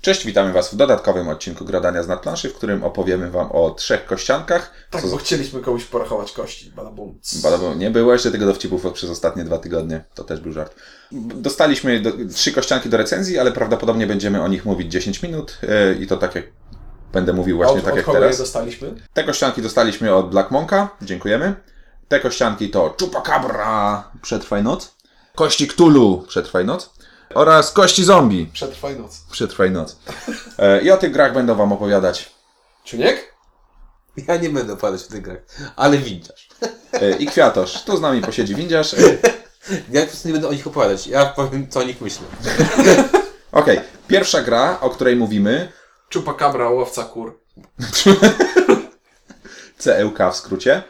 Cześć, witamy Was w dodatkowym odcinku Gradania z nadplanszy, w którym opowiemy Wam o trzech kościankach. Tak, Co bo z... chcieliśmy komuś porachować kości. Badabum. Cs. Badabu, nie było jeszcze tego dowcipów od- przez ostatnie dwa tygodnie, to też był żart. B- Dostaliśmy do, trzy kościanki do recenzji, ale prawdopodobnie będziemy o nich mówić 10 minut yy, i to tak jak będę mówił A właśnie od, tak od jak kogo teraz. je dostaliśmy? Te kościanki dostaliśmy od Black Monka, dziękujemy. Te kościanki to Chupacabra, Przetrwaj Noc, Kości Cthulhu, Przetrwaj Noc oraz Kości Zombie, Przetrwaj noc. Przetrwaj Noc. E, I o tych grach będą Wam opowiadać Czuniek? Ja nie będę padać w tych grach, ale widzisz. E, i Kwiatosz. Tu z nami posiedzi windziarz. E, Ja po prostu nie będę o nich opowiadać, ja powiem co o nich myślę. Okej, pierwsza gra, o której mówimy, Czupakabra, łowca kur. CEUK E w skrócie.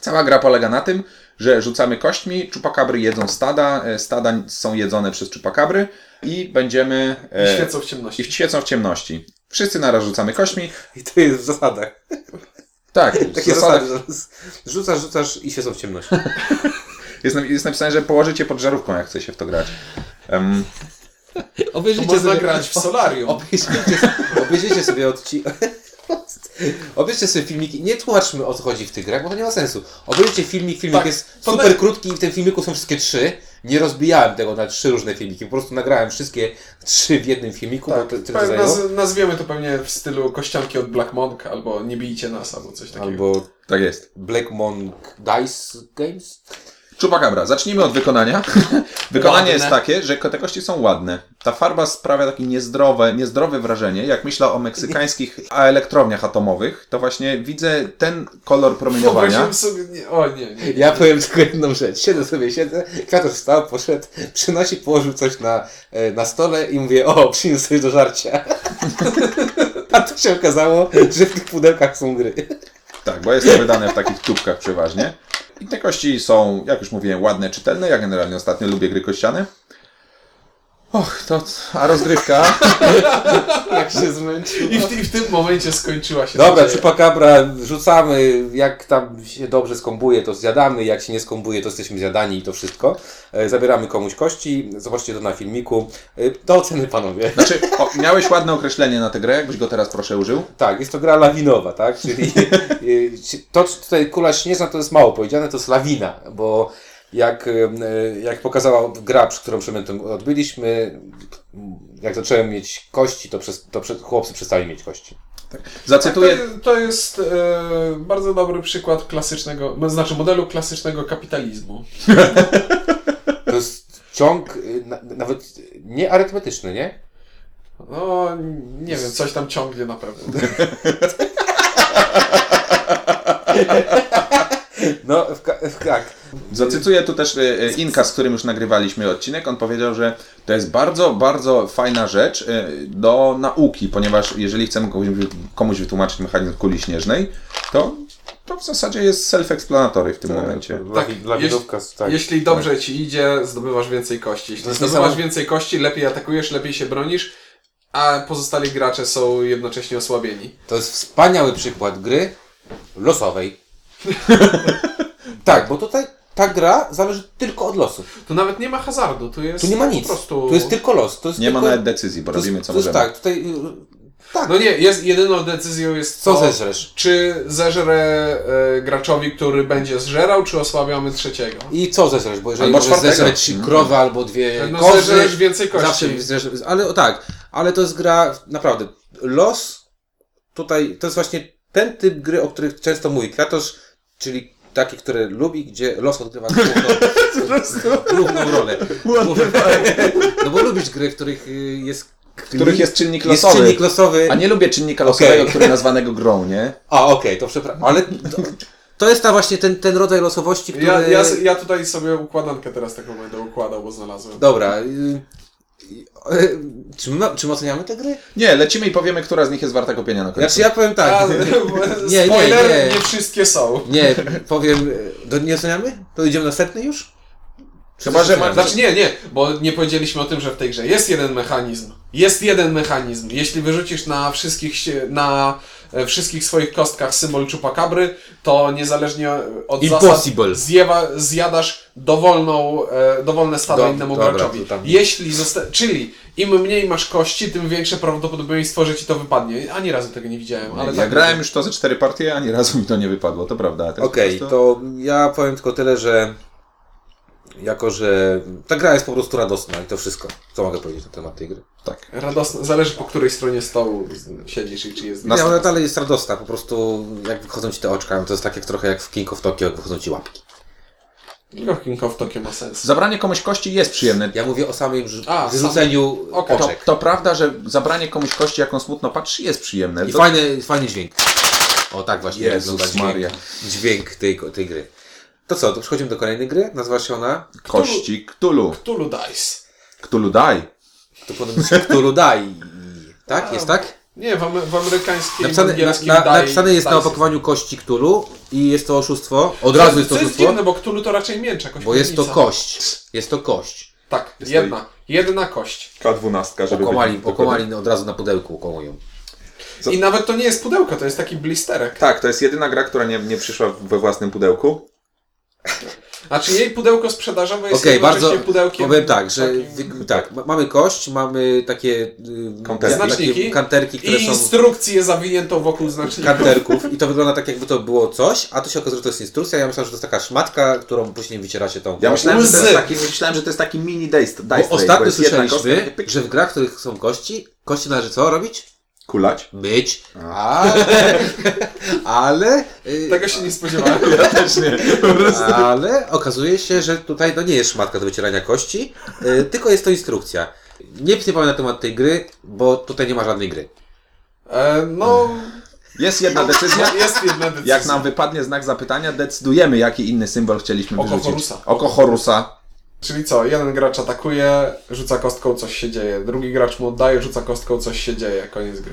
Cała gra polega na tym, że rzucamy kośćmi, czupakabry jedzą stada, e, stada są jedzone przez czupakabry i będziemy... I e, świecą w I ciemności. świecą w ciemności. Wszyscy naraz rzucamy kośćmi. I to jest w zasadach. Tak, Takie w zasady, zasadach że rzucasz, rzucasz i się są w ciemności. jest, na- jest napisane, że położycie pod żarówką, jak chce się w to grać. Em, To Obejrzyjcie można grać w solarium. Obejrzyjcie, obejrzyjcie sobie odci... Obejrzyjcie sobie filmiki. Nie tłumaczmy o co chodzi w tych grach, bo to nie ma sensu. Obejrzyjcie filmik, filmik Tak, jest to super naj- krótki i w tym filmiku są wszystkie trzy. Nie rozbijałem tego na trzy różne filmiki. Po prostu nagrałem wszystkie trzy w jednym filmiku, Tak, bo to, to pewnie zajęło. naz- nazwiemy to pewnie w stylu kościanki od Black Monk, albo nie bijcie nas, albo coś takiego. Albo tak jest. Black Monk Dice Games? Czupakabra. Zacznijmy od wykonania. Wykonanie Ładne. jest takie, że ko- te kości są ładne. Ta farba sprawia takie niezdrowe, niezdrowe wrażenie. Jak myślę o meksykańskich elektrowniach atomowych, to właśnie widzę ten kolor promieniowania. Wyobraziłem sobie... Nie, o nie, nie. Ja powiem tylko jedną rzecz. Siedzę sobie, siedzę, kwiatusz wstał, poszedł, przynosi, położył coś na, e, na stole i mówię, o, przyniósł coś do żarcia. A tu się okazało, że w tych pudełkach są gry. Tak, bo jest to wydane w takich tubkach przeważnie. I te kości są, jak już mówiłem, ładne, czytelne. Ja generalnie ostatnio lubię gry kościane. Och, to... A rozgrywka... Jak się zmęczył. I w, I w tym momencie skończyła się Dobra, nadzieja. czupakabra, rzucamy, jak tam się dobrze skąbuje, to zjadamy, jak się nie skąbuje, to jesteśmy zjadani i to wszystko. E, Zabieramy komuś kości, zobaczcie to na filmiku. E, Do oceny panowie. Znaczy, o, miałeś ładne określenie na tę grę, jakbyś go teraz proszę użył. Tak, jest to gra lawinowa, tak? Czyli y, ci- to, co tutaj kula śnieżna, to jest mało powiedziane, to jest lawina, bo jak, ym, y, jak pokazała gra, przy którą przemytą odbyliśmy, jak zacząłem mieć kości, to, przez, to przez, chłopcy przestali mieć kości. Zacytuję, Tak, To, je- to jest e, bardzo dobry przykład klasycznego, no, znaczy modelu klasycznego kapitalizmu. To jest ciąg y, na, nawet nie arytmetyczny, nie? No, nie wiem, coś tam ciągnie na pewno. No, w, ka- w, tak. zacytuję tu też y, y, Inka, z którym już nagrywaliśmy odcinek. On powiedział, że to jest bardzo, bardzo fajna rzecz y, do nauki, ponieważ jeżeli chcemy komuś, komuś wytłumaczyć mechanizm kuli śnieżnej, to, to w zasadzie jest self-explanatory w tym momencie. Tak, lawinówka, tak. Jeśli dobrze ci idzie, zdobywasz więcej kości. Jeśli To jest zdobywasz niesamowite. więcej kości, lepiej atakujesz, lepiej się bronisz, a pozostali gracze są jednocześnie osłabieni. To jest wspaniały przykład gry losowej. tak, bo tutaj ta gra zależy tylko od losu. Tu nawet nie ma hazardu, tu jest Tu nie ma nic. po prostu... Tu jest tylko los. To jest Nie ma tylko... nawet decyzji, bo to jest- robimy co to jest możemy. Tak, tutaj... y, Tak, No nie, jest, jedyną decyzją jest co to, zeżresz? czy zeżrę e, graczowi, który będzie zżerał, czy osłabiamy trzeciego. I co zeżresz? Bo jeżeli Albo możesz czwartego. zeżreć Mhm. krowę albo dwie No, kozy, zeżresz więcej kości. zawsze zeżresz, ale o tak, ale to jest gra, naprawdę, los tutaj, to jest właśnie ten typ gry, o których często mówi Kratosz, czyli takie, które lubi, gdzie los odgrywa główną, główną rolę. No bo lubisz gry, w których y, jest W których jest czynnik jest losowy. czynnik losowy. A nie lubię czynnika losowego, który nazwanego grą, nie? A, okej, to przepraszam. Ale to, to jest ta właśnie ten, ten rodzaj losowości, który... Ja, ja, ja tutaj sobie układankę teraz taką będę układał, bo znalazłem. Dobra. y, y, Czy my, czym oceniamy te gry? Nie, lecimy i powiemy, która z nich jest warta kupienia na końcu. Znaczy ja powiem A, tak. nie, nie, spoiler, nie, nie. wszystkie są. Nie, powiem... y, Do, nie oceniamy? To idziemy następny już? Chyba, że ma... Znaczy nie, nie, bo nie powiedzieliśmy o tym, że w tej grze jest jeden mechanizm. Jest jeden mechanizm. Jeśli wyrzucisz na wszystkich, się- na e, wszystkich swoich kostkach symbol czupakabry, to niezależnie od Impossible. zasad zjewa, zjadasz dowolną, e, dowolne stado Do- innemu dobra, graczowi. to tam- Jeśli zosta- czyli im mniej masz kości, tym większe prawdopodobieństwo, że ci to wypadnie. Ani razu tego nie widziałem, ale Ja tak. grałem już to ze cztery partie, ani razu mi to nie wypadło, to prawda. To jest no Okej, po prostu- to ja powiem tylko tyle, że jako, że ta gra jest po prostu radosna i to wszystko, co mogę powiedzieć na temat tej gry. Tak. Radosne, zależy po której stronie stołu siedzisz i czy jest. Na- Nie, ona dalej jest radosna, po prostu jak wychodzą ci te oczka, to jest tak jak trochę jak w King of Tokyo, jak wychodzą ci łapki. Tylko King of Tokyo ma sens. Zabranie komuś kości jest przyjemne. Ja mówię o samym brz- A, wyrzuceniu Okej. To, oczek. to prawda, że zabranie komuś kości, jaką smutno patrzy, jest przyjemne. I To- fajny, fajny dźwięk. O tak właśnie Jezus wygląda dźwięk, Maria. dźwięk tej, tej gry. To co, to przechodzimy do kolejnej gry, nazywa się ona Kości Ktulu. Cthulhu Dice. Ktulu daj. to podobno Cthulhu Dai. Tak? Jest tak? Nie, w, ame- w amerykańskim Napisane, angielskim na, na, daj- napisane jest na dajsy. opakowaniu kości Ktulu i jest to oszustwo. Od Co- razu jest to Co jest oszustwo, dziwne, bo Cthulhu to raczej mięcza kość. bo jest to piwnica. kość. Jest to kość. Tak, jedna. Jedna kość. K12, Okomali, okomali od razu na pudełku ukołują. Co- I nawet to nie jest pudełko, to jest taki blisterek. Tak, to jest jedyna gra, która nie, nie przyszła we własnym pudełku. Znaczy jej pudełko sprzedażowe jest Okej, jednocześnie bardzo. pudełkiem. Powiem tak, że takim- wy- tak, ma- mamy kość, mamy takie y, Kanterki. takie Znaczniki. kanterki, I które są instrukcję zawiniętą wokół znaczy, znacznika. kanterków i to wygląda tak jakby to było coś, a to się okazuje, że to jest instrukcja. Ja myślałem, że to jest taka szmatka, którą później wyciera się tą. Ja kością. myślałem, że to Łzy. jest taki, myślałem, że to jest taki mini dice, dice Bo tray, bo ostatnio jest jedna słyszeliśmy, kostka, pyk, że w grach, w których są kości, kości należy co robić? Kulać. Być. Ale, ale, y, Tego się nie spodziewałem. Też nie. ale okazuje się, że tutaj no nie jest szmatka do wycierania kości, y, tylko jest to instrukcja. Nic nie powiem na temat tej gry, bo tutaj nie ma żadnej gry. E, no, Jest jedna decyzja. jest jedna decyzja. Jak nam wypadnie znak zapytania, decydujemy, jaki inny symbol chcieliśmy Oko wyrzucić. Horusa. Oko Horusa. Czyli co, jeden gracz atakuje, rzuca kostką, coś się dzieje. Drugi gracz mu oddaje, rzuca kostką, coś się dzieje. Koniec gry.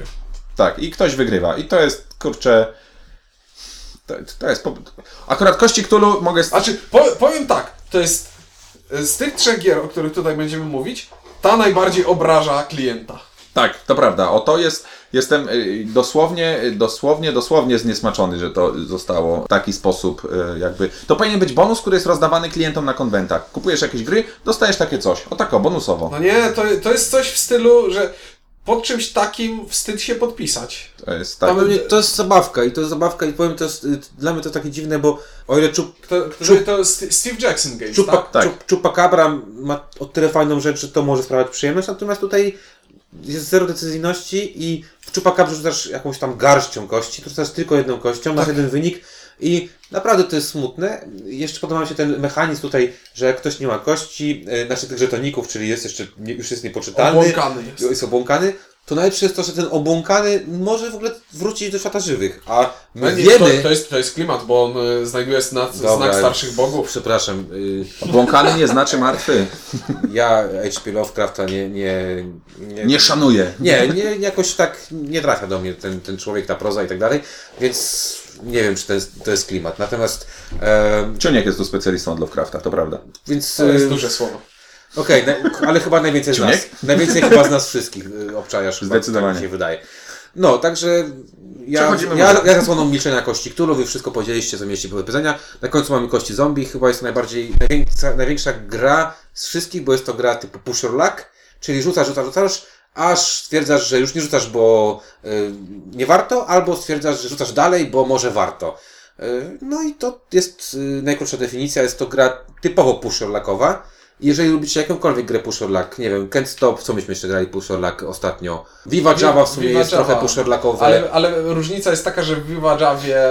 Tak, i ktoś wygrywa. I to jest, kurczę... To, to jest... Po... Akurat kości Ktulu mogę... z- Znaczy, po, powiem tak, to jest y, z tych trzech gier, o których tutaj będziemy mówić, ta najbardziej obraża klienta. Tak, to prawda. O to jest, jestem y, dosłownie, y, dosłownie, dosłownie zniesmaczony, że to zostało w taki sposób y, jakby... To powinien być bonus, który jest rozdawany klientom na konwentach. Kupujesz jakieś gry, dostajesz takie coś. O tak, o, bonusowo. No nie, to, to jest coś w stylu, że pod czymś takim wstyd się podpisać. To jest Dla tak. mnie to jest zabawka i to jest zabawka i powiem, to jest, y, dla mnie to takie dziwne, bo o ile czup, Kto, kto, Czup... To St- Steve Jackson Games, Czupa, tak? tak. Czup, czupakabra ma o tyle fajną rzecz, że to może sprawiać przyjemność, natomiast tutaj jest zero decyzyjności i w czupakabrze rzucasz jakąś tam garścią kości, tu rzucasz tylko jedną kością, masz jeden wynik i naprawdę to jest smutne. Jeszcze podoba mi się ten mechanizm tutaj, że jak ktoś nie ma kości, e, znaczy tych żetoników, czyli jest jeszcze, nie- już jest niepoczytalny, Obłąkany jest. jest obłąkany, to najlepsze jest to, że ten obłąkany może w ogóle wrócić do świata żywych, a my No nie, wiemy... To, to, jest, to jest klimat, bo on y, znajduje znak, Dobra, znak starszych bogów. Przepraszam, y, Błąkany nie znaczy martwy. ja H.P. Lovecrafta nie... Nie, Nie szanuję. Nie, nie, jakoś tak nie trafia do mnie ten, ten człowiek, ta proza i tak dalej, więc nie wiem, czy to jest, to jest klimat. Natomiast, e, Ciuniek jest tu specjalistą od Lovecrafta, to prawda. więc... To jest e, duże słowo. Okej, naj- ale chyba najwięcej z nas. Ciuniek? Najwięcej chyba z nas wszystkich y, obczajasz. chyba, Zdecydowanie. Tak mi się wydaje. No, także ja, Przechodzimy ja, może- ja zasłoną milczenia kości Cthulhu, wy wszystko powiedzieliście, co mieliście do powiedzenia. Na końcu mamy kości zombie, chyba jest to najbardziej, największa, największa gra z wszystkich, bo jest to gra typu push or luck, czyli rzucasz, rzucasz, rzucasz, aż stwierdzasz, że już nie rzucasz, bo y, nie warto, albo stwierdzasz, że rzucasz dalej, bo może warto. Y, No i to jest y, najkrótsza definicja, jest to gra typowo push-orlakowa. Jeżeli lubicie jakąkolwiek grę push-orlak, nie wiem, Can't Stop, co myśmy jeszcze grali push-orlak ostatnio, Viva Vi- Java w sumie Viva jest Java. trochę push-orlakowe. Ale, ale różnica jest taka, że w Viva Javie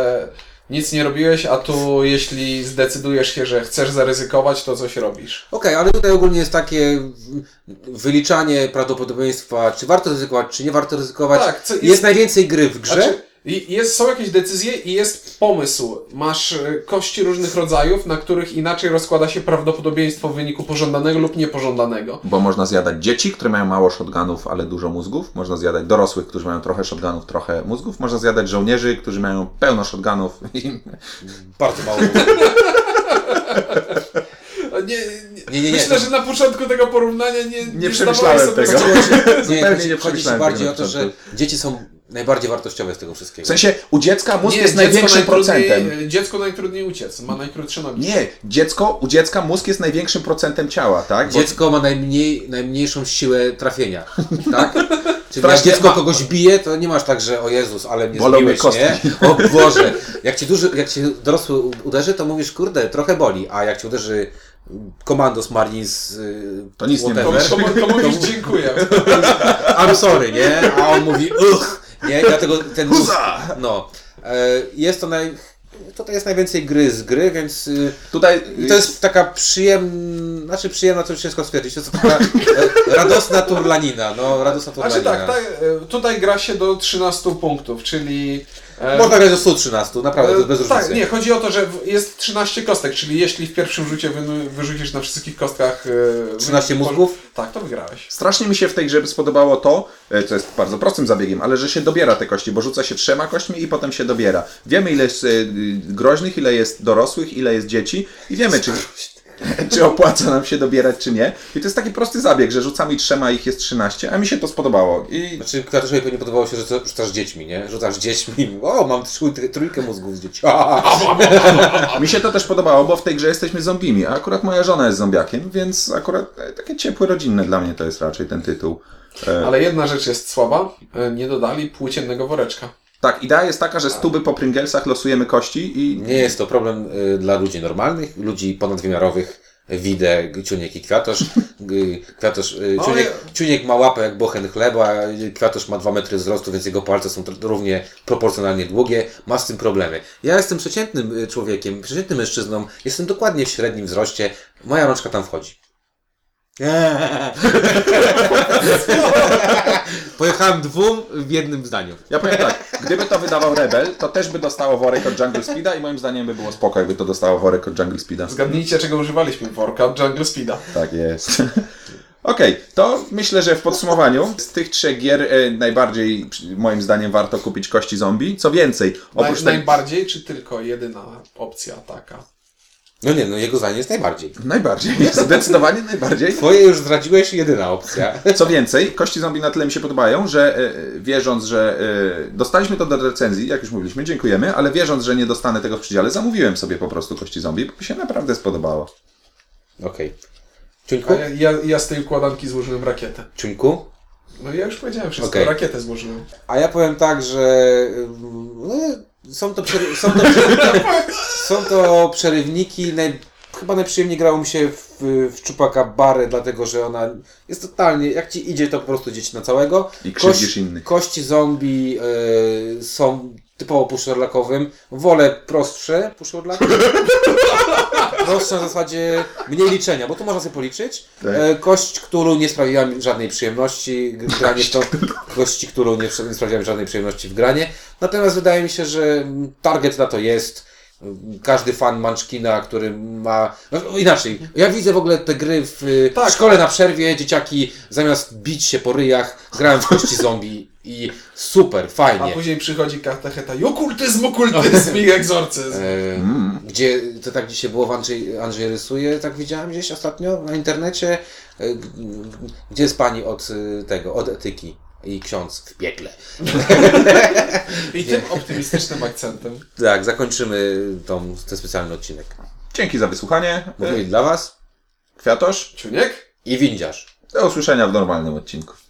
nic nie robiłeś, a tu jeśli zdecydujesz się, że chcesz zaryzykować, to coś robisz. Okej, ale tutaj ogólnie jest takie w- wyliczanie prawdopodobieństwa, czy warto ryzykować, czy nie warto ryzykować. Tak, co jest, jest- najwięcej gry w grze. Znaczy, i- jest, są jakieś decyzje i jest pomysł. Masz e, kości różnych rodzajów, na których inaczej rozkłada się prawdopodobieństwo wyniku pożądanego lub niepożądanego. Bo można zjadać dzieci, które mają mało shotgunów, ale dużo mózgów. Można zjadać dorosłych, którzy mają trochę shotgunów, trochę mózgów. Można zjadać żołnierzy, którzy mają pełno shotgunów. Bardzo mało. E, nie, Nie, nie, nie, Myślę, to- że na początku tego porównania nie, Nie zdawałeś przemyślałem sobie tego. sprawy. Zupełnie nie, nie nie chodzi ci przemyślałem bardziej tego o to, na że dzieci są najbardziej wartościowe z tego wszystkiego. W sensie u dziecka mózg Nie, jest dziecko największym najtrudniej- procentem. Dziecko najtrudniej uciec, ma najkrótsze nogi. Nie, dziecko, u dziecka mózg jest największym procentem ciała, tak? Bo Dziecko ma najmniej, najmniejszą siłę trafienia, tak? Czyli jak Strasznie dziecko ma- kogoś bije, to nie masz tak, że o Jezus, ale mnie Bolą mnie zbiłeś, nie? O Boże. Jak ci, duży, jak ci dorosły u- uderzy, to mówisz, kurde, trochę boli, a jak ci uderzy komandos Marines, y, To nic nie To, whatever, to, to mówisz dziękuję. Znaczy I'm sorry, nie? A on mówi, uch, nie? Dlatego ten... No. E, Jest to naj... Tutaj jest najwięcej gry z gry, więc... y, tutaj i to jest taka przyjemna, znaczy przyjemna, to już ciężko stwierdzić, to jest taka e, radosna turlanina, no radosna Znaczy turlanina. tak, tak, e, tutaj gra się do 13 punktów, czyli... e, Można grać do 113, naprawdę, e, bez różnicy. tak, nie, chodzi o to, że w- jest 13 kostek, czyli jeśli w pierwszym rzucie wy, wyrzucisz na wszystkich kostkach... e, 13 wynik- mózgów? Tak, to wygrałeś. Strasznie mi się w tej grze spodobało to, e, co jest bardzo prostym zabiegiem, ale że się dobiera te kości, bo rzuca się trzema kośćmi i potem się dobiera. Wiemy ile jest e, groźnych, ile jest dorosłych, ile jest dzieci i wiemy czy, czy opłaca nam się dobierać czy nie. I to jest taki prosty zabieg, że rzucamy trzema ich jest 13, a mi się to spodobało. I Znaczy, Klatuszowi pewnie podobało się, że co- rzucasz dziećmi, nie? Rzucasz dziećmi, o, mam trój, trójkę mózgów z dzieci. A, mi się to też podobało, bo w tej grze jesteśmy zombimi, a akurat moja żona jest zombiakiem, więc akurat e, takie ciepłe rodzinne dla mnie to jest raczej ten tytuł. E, Ale jedna rzecz jest słaba, e, nie dodali płóciennego woreczka. Tak, idea jest taka, że z tuby po Pringlesach losujemy kości i Nie jest to problem y, dla ludzi normalnych, ludzi ponadwymiarowych. Widę, Ciuniek i Kwiatosz. Y, Kwiatosz y, No, ciuniek, ale- ciuniek ma łapę jak bochen chleba, y, Kwiatosz ma 2 metry wzrostu, więc jego palce są tr- równie proporcjonalnie długie. Ma z tym problemy. Ja jestem przeciętnym y, człowiekiem, przeciętnym mężczyzną. Jestem dokładnie w średnim wzroście. Moja rączka tam wchodzi. Pojechałem dwóm w jednym zdaniu. Ja powiem tak, gdyby to wydawał Rebel, to też by dostało worek od Jungle Speeda i moim zdaniem by było spoko, jakby to dostało worek od Jungle Speeda. Zgadnijcie, czego używaliśmy worka od Jungle Speeda. Tak jest. Okej, to myślę, że w podsumowaniu z tych trzech gier e, najbardziej przy- moim zdaniem warto kupić kości zombie. Co więcej, oprócz Naj, tej... najbardziej, czy tylko jedyna opcja taka? No nie, no jego zdanie jest najbardziej. Najbardziej, zdecydowanie najbardziej. Twoje już zdradziłeś jedyna opcja. Co więcej, kości zombie na tyle mi się podobają, że e, wierząc, że e, dostaliśmy to do recenzji, jak już mówiliśmy, dziękujemy, ale wierząc, że nie dostanę tego w przydziale, zamówiłem sobie po prostu kości zombie, bo mi się naprawdę spodobało. Okej. Ciuńku? A ja, ja, ja z tej układanki złożyłem rakietę. Ciuńku? No ja już powiedziałem wszystko, Okej. rakietę złożyłem. A ja powiem tak, że mm, no, są to, przery- są to, przery- są to przerywniki. Naj, chyba najprzyjemniej grało mi się w, w czupaka barę, dlatego że ona jest totalnie, jak ci idzie, to po prostu idzie ci na całego. I krzywdzisz innych. Kości zombie y, są typowo puszczorlakowym. Wolę prostsze puszczorlaki. Prostsze na zasadzie mniej liczenia, bo tu można sobie policzyć. Tak. E, Kość, którą nie sprawiła mi żadnej przyjemności, g- granie w to. Kości, którą nie, nie sprawiła mi żadnej przyjemności w granie. Natomiast wydaje mi się, że mm, target na to jest. Mm, Każdy fan Munchkina, który ma. No, inaczej, ja widzę w ogóle te gry w, y, Tak. w szkole na przerwie. Dzieciaki zamiast bić się po ryjach, grają w kości zombie i super, A fajnie. później przychodzi katecheta i okultyzm, okultyzm i egzorcyzm. E, Gdzie to tak dzisiaj było w Andrzej, Andrzej rysuje, tak widziałem gdzieś ostatnio na internecie. E, g- g- Gdzie jest pani od y, tego, od etyki i ksiądz w piekle. I tym optymistycznym akcentem. Tak, zakończymy tą, ten specjalny odcinek. Dzięki za wysłuchanie. Mówili dla Was Kwiatosz, Ciuniek? i windziarz. do usłyszenia w normalnym odcinku.